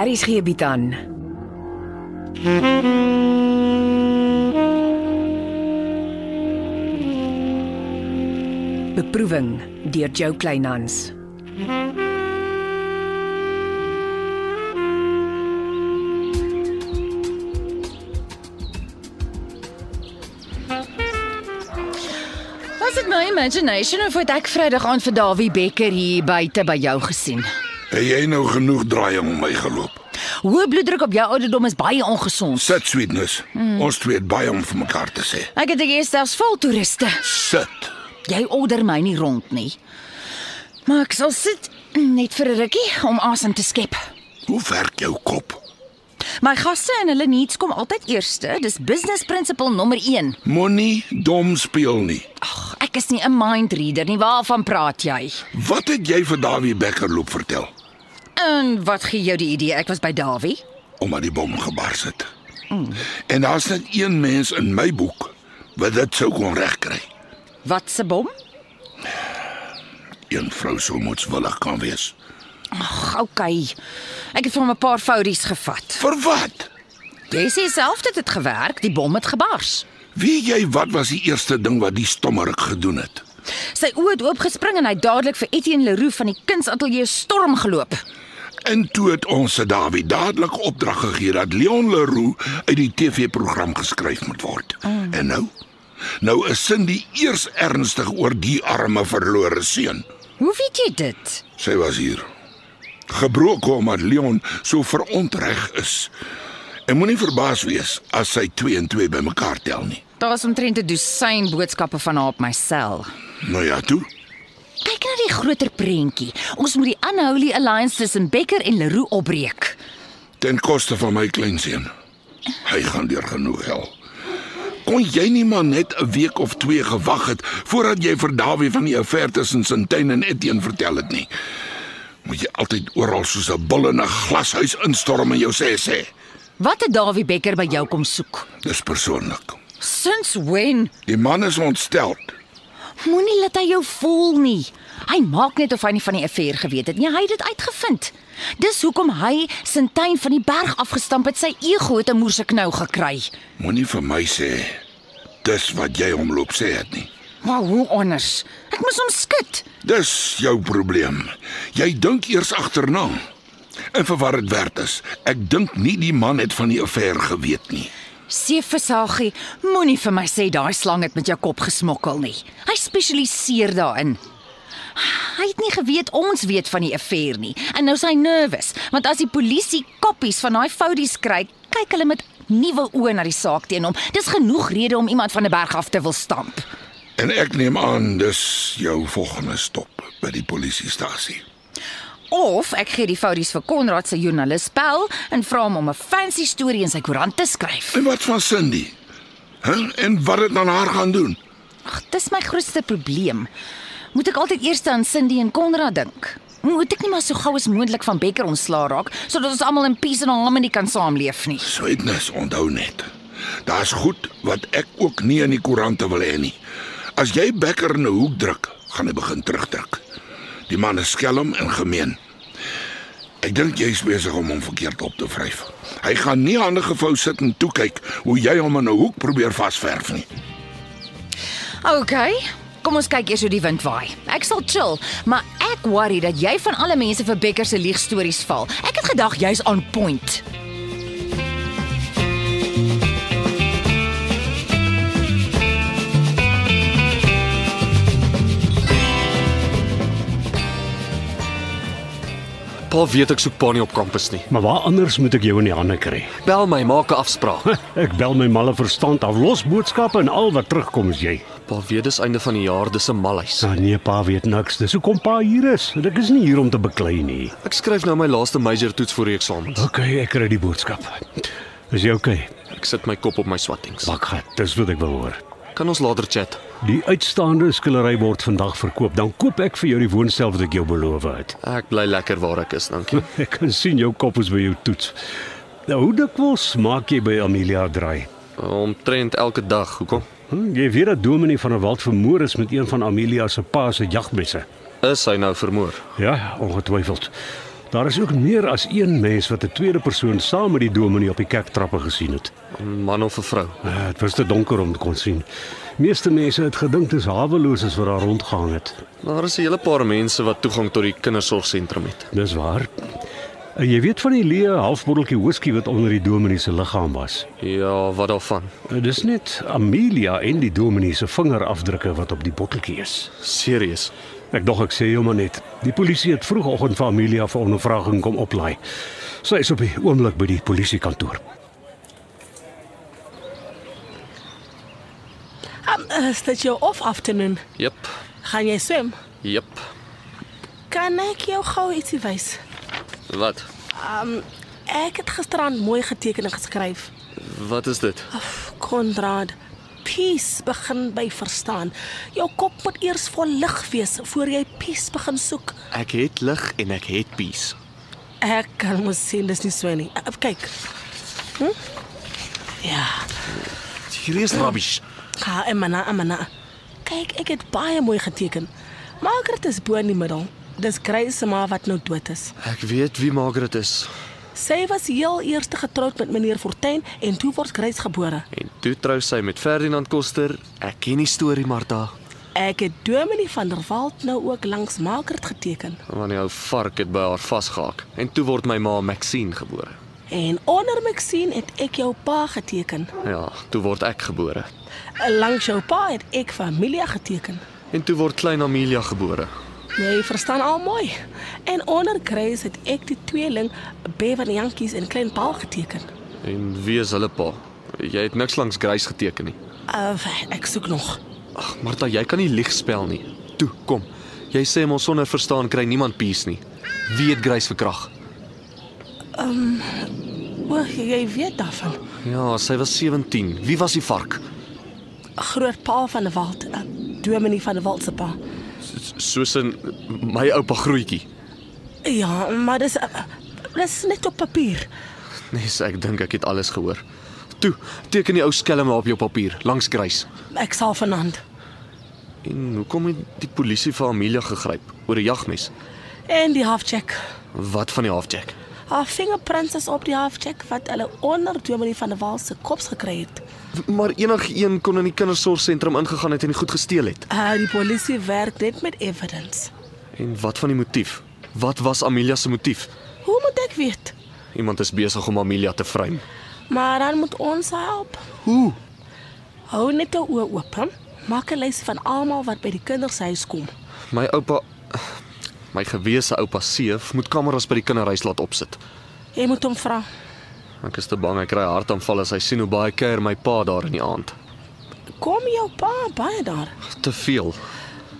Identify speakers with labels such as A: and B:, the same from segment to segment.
A: Aries gee bied aan. Beproeving deur Jo Kleinhans.
B: Was dit my imagination of het ek Vrydag aand vir Dawie Becker hier buite by jou gesien?
C: Het jy nou genoeg draai om my geloop?
B: Hoë bloeddruk op jou ouderdom is baie ongesond.
C: Sit sweetness. Mm. Ons twee het baie om vir mekaar te sê.
B: Ek het ek selfs vol toeriste.
C: Sit.
B: Jy order my nie rond nie. Maar ek sal sit net vir 'n rukkie om asem te skep.
C: Hoe werk jou kop?
B: My gaste en hulle needs kom altyd eerste. Dis business principle nommer 1.
C: Moenie dom speel nie.
B: Ag, ek is nie 'n mind reader nie. Waarvan praat jy?
C: Wat het jy vir Dawie Becker loop vertel?
B: En wat gee jou die idee ek was by Dawie?
C: Omdat die bom gebars het. En daar's net een mens in my boek wat dit sou kon regkry.
B: Wat se bom?
C: Een vrou sou moetswillig kan wees.
B: Ag, okay. Ek het van 'n paar fouties gevat.
C: Vir wat?
B: Jy sê self dit het gewerk, die bom het gebars.
C: Weet jy wat was die eerste ding wat die stommerik gedoen het?
B: Sy oë het oopgespring en hy het dadelik vir Etienne Leroux van die kunsateljee storm geloop.
C: En toe het ons se Dawie dadelik opdrag gegee dat Leon Leroux uit die TV-program geskryf moet word. Mm. En nou? Nou is Cindy eers ernstig oor die arme verlore seun.
B: Hoe weet jy dit?
C: Sy was hier. Gebroken omdat Leon so verontreg is. En moenie verbaas wees as sy 2 en 2 bymekaar tel nie.
B: Daar's omtrent 'n dosyn boodskappe van haar op my sel.
C: Nou ja, toe.
B: Kyk na die groter prentjie. Ons moet die unholy alliance tussen Becker en Leroux opbreek.
C: Ten koste van my kleinseun. Hy gaan deur genoeg hel. Kon jy nie maar net 'n week of twee gewag het voordat jy vir Dawie van die affære tussen Sintyn en Etienne vertel het nie? Moet jy altyd oral soos 'n bil in 'n glashuis instorm en jou sê sê.
B: Wat het Dawie Becker by jou kom soek?
C: Dis persoonlik.
B: Since when?
C: Die man is ontstel.
B: Moenie laat hy jou voel nie. Hy maak net of hy nie van die affære geweet het nie. Hy het dit uitgevind. Dis hoekom hy Sintyn van die berg afgestamp het. Sy ego het 'n moerse knou gekry.
C: Moenie vir my sê dis wat jy hom loop sê het nie.
B: Maar hoe anders? Ek moes hom skud.
C: Dis jou probleem. Jy dink eers agterna. En vir wat dit werd is, ek dink nie die man het van die affære geweet nie.
B: Seeversagie, moenie vir my sê daai slang het met jou kop gesmokkel nie. Hy spesialiseer daarin. Hy het nie geweet ons weet van die affære nie en nou is hy nervus, want as die polisie koppies van daai fouties kry, kyk hulle met nuwe oë na die saak teen hom. Dis genoeg rede om iemand van 'n berg af te wil stamp.
C: En ek neem aan dis jou volgende stop by die polisiestasie.
B: Of ek gee die fouties vir Konrad se joernalis Pel en vra hom om 'n fancy storie in sy koerant te skryf.
C: En wat van Cindy? Hæ? En wat het aan haar gaan doen?
B: Ag, dis my grootste probleem. Moet ek altyd eers aan Cindy en Konrad dink? Moet ek nie maar so gou as moontlik van Becker ontslaa raak sodat ons almal in peace en harmony kan saamleef nie?
C: Suidnus, onthou net. Daar's goed wat ek ook nie in die koerante wil hê nie. As jy Becker in 'n hoek druk, gaan hy begin terugdruk. Die man is skelm en gemeen. Ek dink jy's besig om hom verkeerd op te vryf. Hy gaan nie hande gevou sit en toe kyk hoe jy hom in 'n hoek probeer vasverf nie.
B: OK. Kom ons kyk eers hoe die wind waai. Ek sal chill, maar ek worry dat jy van alle mense vir Becker se leegstories val. Ek het gedag jy's on point.
D: Pa weet ek soek pa nie op kampus nie.
E: Maar waar anders moet ek jou in die hande kry?
D: Bel my, maak 'n afspraak.
E: Ek bel my malle verstand af, los boodskappe en al wat terugkom is jy.
D: pa weet dis einde van die jaar, dis 'n malhuis.
E: Nou nee, pa weet niks. Dis hoekom pa hier is. En ek is nie hier om te beklei nie.
D: Ek skryf nou my laaste major toets vir die eksamens.
E: OK, ek kry die boodskap. Is jy OK?
D: Ek sit my kop op my swattings.
E: Wag gehad. Dis wat ek wil hoor.
D: Kan ons later chat?
E: Die uitstaande skillery word vandag verkoop. Dan koop ek vir jou die woonstel wat ek jou beloof het.
D: Ek bly lekker waar ek is, dankie.
E: Ek kan sien jou kop is by jou toets. Nou hoe dikwels maak jy by Amelia draai?
D: Omtrent elke dag, hoekom?
E: Hm, jy weet dat Dominee van der Walt vermoor is met een van Amelia se pa se jagmesse.
D: Is hy nou vermoor?
E: Ja, ongetwyfeld. Daar is ook meer as een mens wat 'n tweede persoon saam met die dominee op die kerktrappe gesien het.
D: 'n Man of 'n vrou.
E: Eh, Dit was te donker om te kon sien. Meeste mense het gedink dis haweloses wat daar rondgegaan het.
D: Daar is 'n hele paar mense wat toegang tot die kindersorgsentrum het.
E: Dis waar. En jy weet van die leë halfbotteltjie whisky wat onder die dominee se liggaam was.
D: Ja, wat daarvan?
E: Eh, Dis net Amelia en die dominee se vingerafdrukke wat op die botteltjie is.
D: Serieus.
E: Ek dog ek sê jou maar net. Die polisie het vroegoggend vir Amelia vir ondervraging kom oplaai. Sy is op die oomblik by die polisiekantoor.
F: Um, is dit jou off afternoon?
D: Jep.
F: Gaan jy swem?
D: Jep.
F: Kan ek jou gou ietsie wys?
D: Wat?
F: Ek het gisterand mooi geteken en geskryf.
D: Wat is dit?
F: Af, Konrad, peace begin by verstaan. Jou kop moet eers vol lig wees voor jy peace begin soek.
D: Ek het lig en ek het peace.
F: Ek kan mos sien dis nie so nie. Uh, kyk. Hm? Ja.
D: Hier is rubbish.
F: Ha, emana, emana. Kyk, ek het baie mooi geteken. Margaret is bo in die middel. Dis Grace maar wat nou dood is.
D: Ek weet wie Margaret is.
F: Sy was heel eers getroud met meneer Fortuin en toe word Grace gebore.
D: En toe trou sy met Ferdinand Koster. Ek ken die storie, Martha.
F: Ek het Dominie van der Walt nou ook langs Margaret geteken
D: Want die ou vark het by haar vasgehaak. En toe word my ma Maxine gebore.
F: en onder Maxine het ek jou pa geteken.
D: Ja, toe word ek gebore.
F: Langs jou pa het ek familie geteken.
D: En toe word klein Amelia gebore.
F: Jy verstaan al mooi. En onder Grace het ek die tweeling Bevan Jankies en Klein Paul geteken.
D: En wie is hulle pa? Jy het niks langs Grace geteken nie.
F: Uh, ek soek nog.
D: Ag, Martha, jy kan nie lieg spel nie. Toe, kom. Jy sê mos sonder verstaan kry niemand peace nie. Wie het Grace verkrag?
F: O, jy weet daarvan.
D: Ja, sy was 17. Wie was die vark?
F: Groot pa van der Walt, uh, Dominie van der Walt se pa.
D: S- Soos in my oupa grootjie.
F: Ja, maar dis uh, dis net op papier.
D: Nee, so ek dink ek het alles gehoor. Toe, teken die ou skelm daar op jou papier langs Grace.
F: Ek sal vanaand.
D: En hoekom het die polisie vir Amelia gegryp oor 'n jagmes?
F: En die halfcheck.
D: Wat van die halfjack?
F: Haar vingerprints is op die halfcheck wat hulle onder Dominie van der Walt se kops gekry het.
D: Maar enigeen kon in die kindersorgsentrum ingegaan het en die goed gesteel het.
F: Uh, die polisie werk net met evidence.
D: En wat van die motief? Wat was Amelia se motief?
F: Hoe moet ek weet?
D: Iemand is besig om Amelia te vrym.
F: Maar dan moet ons haar help.
D: Hoe?
F: Hou net jou oë oop. hè? Maak 'n lys van almal wat by die kindershuis kom.
D: My oupa my gewese oupa Seef moet kameras by die kinderhuis laat opsit.
F: Jy moet hom vra.
D: Ek is te bang ek kry 'n hartaanval as hy sien hoe baie keer my pa daar in die aand.
F: Kom jou pa baie daar.
D: Te veel.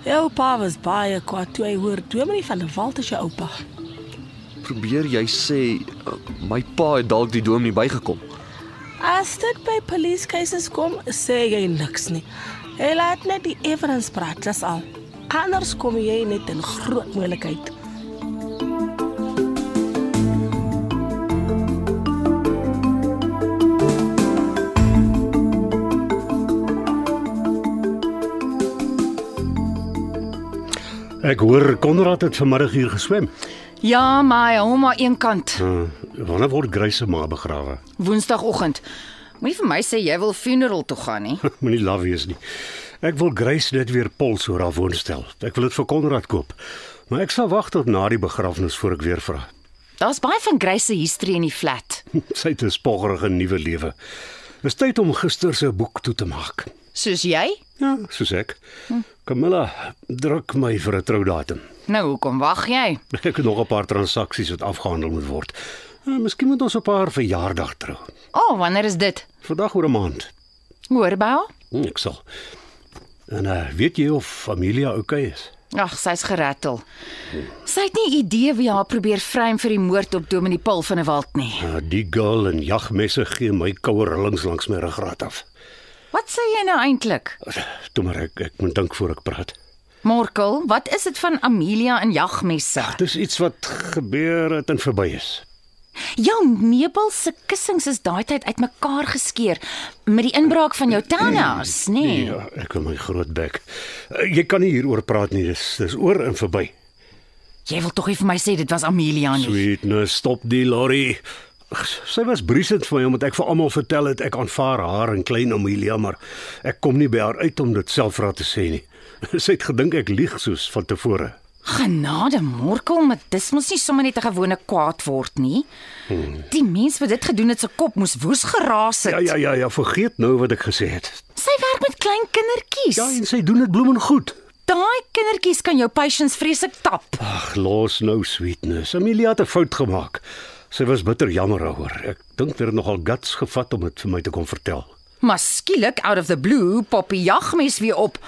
F: Jou pa was baie kwaad toe hy hoor Dominie van der Walt is jou oupa.
D: Probeer jy sê uh, my pa het dalk die dominee bygekom.
F: As dit by police cases kom, sê jy niks nie. Hy laat net die evidence praat, dis al. Anders kom jy net in groot moeilikheid.
E: Ek hoor Konrad het vanmiddag hier geswem.
B: Ja, maar hy hou maar een kant.
E: Uh, wanneer word Grace se ma begrawe?
B: Woensdagoggend. Moenie vir my sê jy wil funeral toe gaan nie.
E: Moenie laf wees nie. Ek wil Grace net weer pols oor haar woonstel. Ek wil dit vir Konrad koop. Maar ek sal wag tot na die begrafnis voor ek weer vra.
B: Daar's baie van Grace se history in die flat.
E: Sy het 'n spoggerige nuwe lewe. Dis tyd om gister se boek toe te maak.
B: Soos jy?
E: Ja, soos ek. Camilla, druk my vir 'n troudatum.
B: Nou hoekom wag jy?
E: Ek het nog 'n paar transaksies wat afgehandel moet word. Eh, Miskien moet ons op haar verjaardag trou.
B: O, oh, wanneer is dit?
E: Vandag oor 'n maand.
B: Hoor by haar?
E: Hm, Ek sal. En uh, weet jy of Familia oukei okay is?
B: Ag, sy's gerattel. Sy het nie idee wie haar probeer vrym vir die moord op Dominee Paul van der Walt nie.
E: Uh, die girl en jagmesse gee my koue rillings langs my ruggraat af.
B: Wat sê jy nou eintlik?
E: Toe maar ek ek moet dink voor ek praat.
B: Morkel, wat is dit van Amelia en jagmesse?
E: Dis iets wat gebeur het en verby is.
B: Jou meubels se kussings is daai tyd uitmekaar geskeur met die inbraak van jou tuinhuis, nê? Nee.
E: Ja, ek en my groot bek. Eh, Jy kan nie hieroor praat nie, dis dis oor en verby.
B: Jy wil tog nie vir my sê dit was Amelia nie.
E: Sweetness, stop die lorry. Ag, Sy was briesend vir my omdat ek vir almal vertel het ek aanvaar haar en klein Amelia, maar ek kom nie by haar uit om dit self raad te sê nie. Sy het gedink ek lieg soos van tevore.
B: Genade Morkel, maar dis mos nie sommer net 'n gewone kwaad word nie. Die mens wat dit gedoen het se kop moes woes geraas het.
E: Hmm. Ja ja ja ja, vergeet nou wat ek gesê het.
B: Sy werk met klein kindertjies.
E: Ja, en sy doen dit bloemen goed.
B: Daai kindertjies kan jou patience vreeslik tap.
E: Ag, los nou, Sweetness. Amelia het 'n fout gemaak. Sy was bitter jammer daaroor. Ek dink dit het nogal guts gevat om dit vir my te kom vertel.
B: Maar skielik out of the blue pop die jagmes weer op.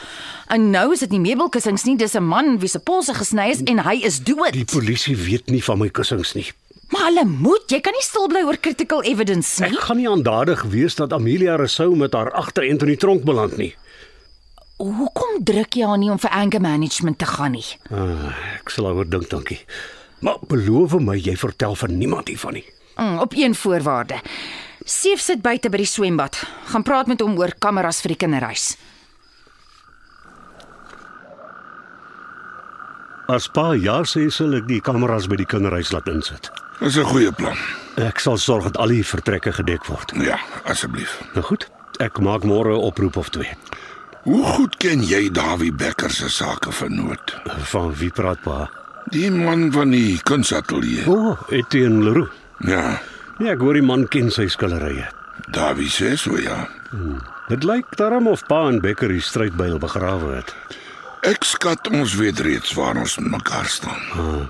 B: En nou is dit nie meubelkussings nie, dis 'n man wie se polse gesny is en hy is dood.
E: Die polisie weet nie van my kussings nie.
B: Maar hulle moet, jy kan nie stil bly oor critical evidence
E: Ek
B: nie.
E: gaan nie aandadig wees dat Amelia Rousseau met haar agterend in die tronk beland nie.
B: Hoekom druk jy haar nie om vir anger management te gaan nie?
E: Ah, ek sal oor dink, dankie. Maar beloof my jy vertel van niemand hiervan nie.
B: Mm, op een voorwaarde. Seef sit buite by die swembad. Gaan praat met hom oor kameras vir die kinderhuis.
E: As pa ja sê, sal ek die kameras by die kinderhuis laat insit.
C: Dis 'n goeie plan.
E: Ek sal sorg dat al die vertrekke gedek word.
C: Ja, asseblief.
E: Nou goed, ek maak môre 'n oproep of twee.
C: Hoe goed ken jy Dawie Becker se sake vernoot?
E: Van wie praat pa?
C: Die man van die kunsatelier.
E: O, oh, Etienne Leroux.
C: Ja,
E: Ja, ek hoor die man ken sy skillerye.
C: Dawie sê so ja.
E: Dit lyk daarom of pa en Becker die strydbyl begrawe het.
C: Ek skat ons weet reeds waar ons met mekaar staan.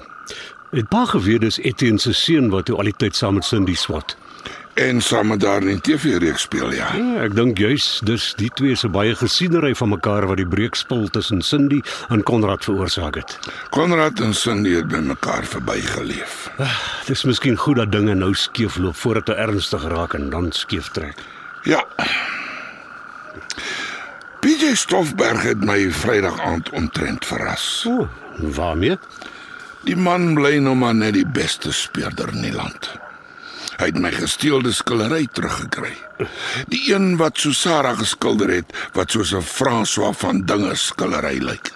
E: Het pa geweet dis Etienne se seun wat toe al die tyd saam met Cindy swat.
C: En saam met daar in die TV-reeks speel ja.
E: Ja, ek dink juis dis die twee se baie gesiedery van mekaar wat die breekspil tussen Cindy en Konrad veroorsaak het.
C: Konrad en Cindy het by mekaar verbygeleef.
E: Dis miskien goed dat dinge nou skeef loop voordat dit ernstig raak en dan skeef trek.
C: Ja. PJ Stoffberg het my Vrydag aand omtrent verras.
E: O, oh, waarmee?
C: Die man bly nou maar net die beste speurder in die land. Hy het my gesteelde skildery teruggekry. Die een wat so Sarah geskilder het, wat soos 'n François van Dinge skildery lyk.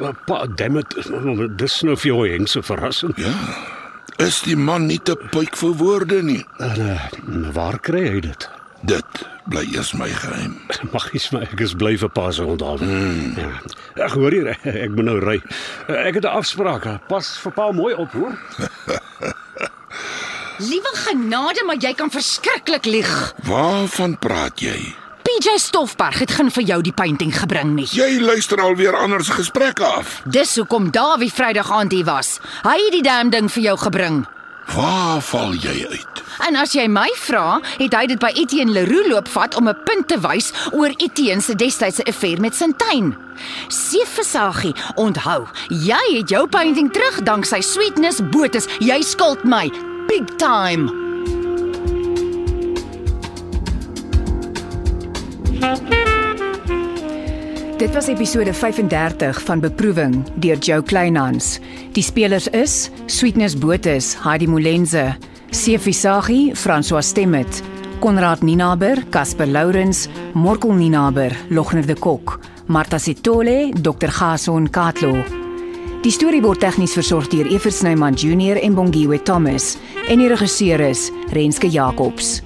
E: Maar Pa, dammit, dis nou vir jou hengse verrassing.
C: Ja. Is die man nie te puik vir woorde nie.
E: En, uh, waar kry hy dit?
C: Dit bly eers my geheim.
E: Mag jy sê ek is bly vir Paas onthaalwe. Mm. Ja. Ek hoor hier, ek moet nou ry. Ek het 'n afspraak. eh, Pas vir Pa mooi op, hoor.
B: Liewe genade, maar jy kan verskriklik lieg.
C: Waarvan praat jy?
B: PJ Stoffberg het geen vir jou die painting gebring nie.
C: Jy luister alweer ander se gesprekke af.
B: Dis hoekom Dawie Vrydag aand hier was. Hy het die damn ding vir jou gebring.
C: Waar val jy uit?
B: En as jy my vra, het hy dit by Etienne Leroux loopvat om 'n punt te wys oor Etienne se destydse affair met Sintyn. Seefversagie, onthou, jy het jou painting terug danksy Sweetness Botus. Jy skuld my big time.
A: Dit was episode 35 van Beproewing deur Jo Kleinhans. Die spelers is Sweetness Botus, Heidi Molenze, Sefi Saghi, François Stemmet, Konrad Ninaber, Casper Lourens, Morkel Ninaber, Logner de Kok, Martha Sitole, Dr. Gason Katlo. Die storie word tegnies versorg deur Evert Snyman Junior en Bongwe Thomas en die regisseur is Renske Jacobs.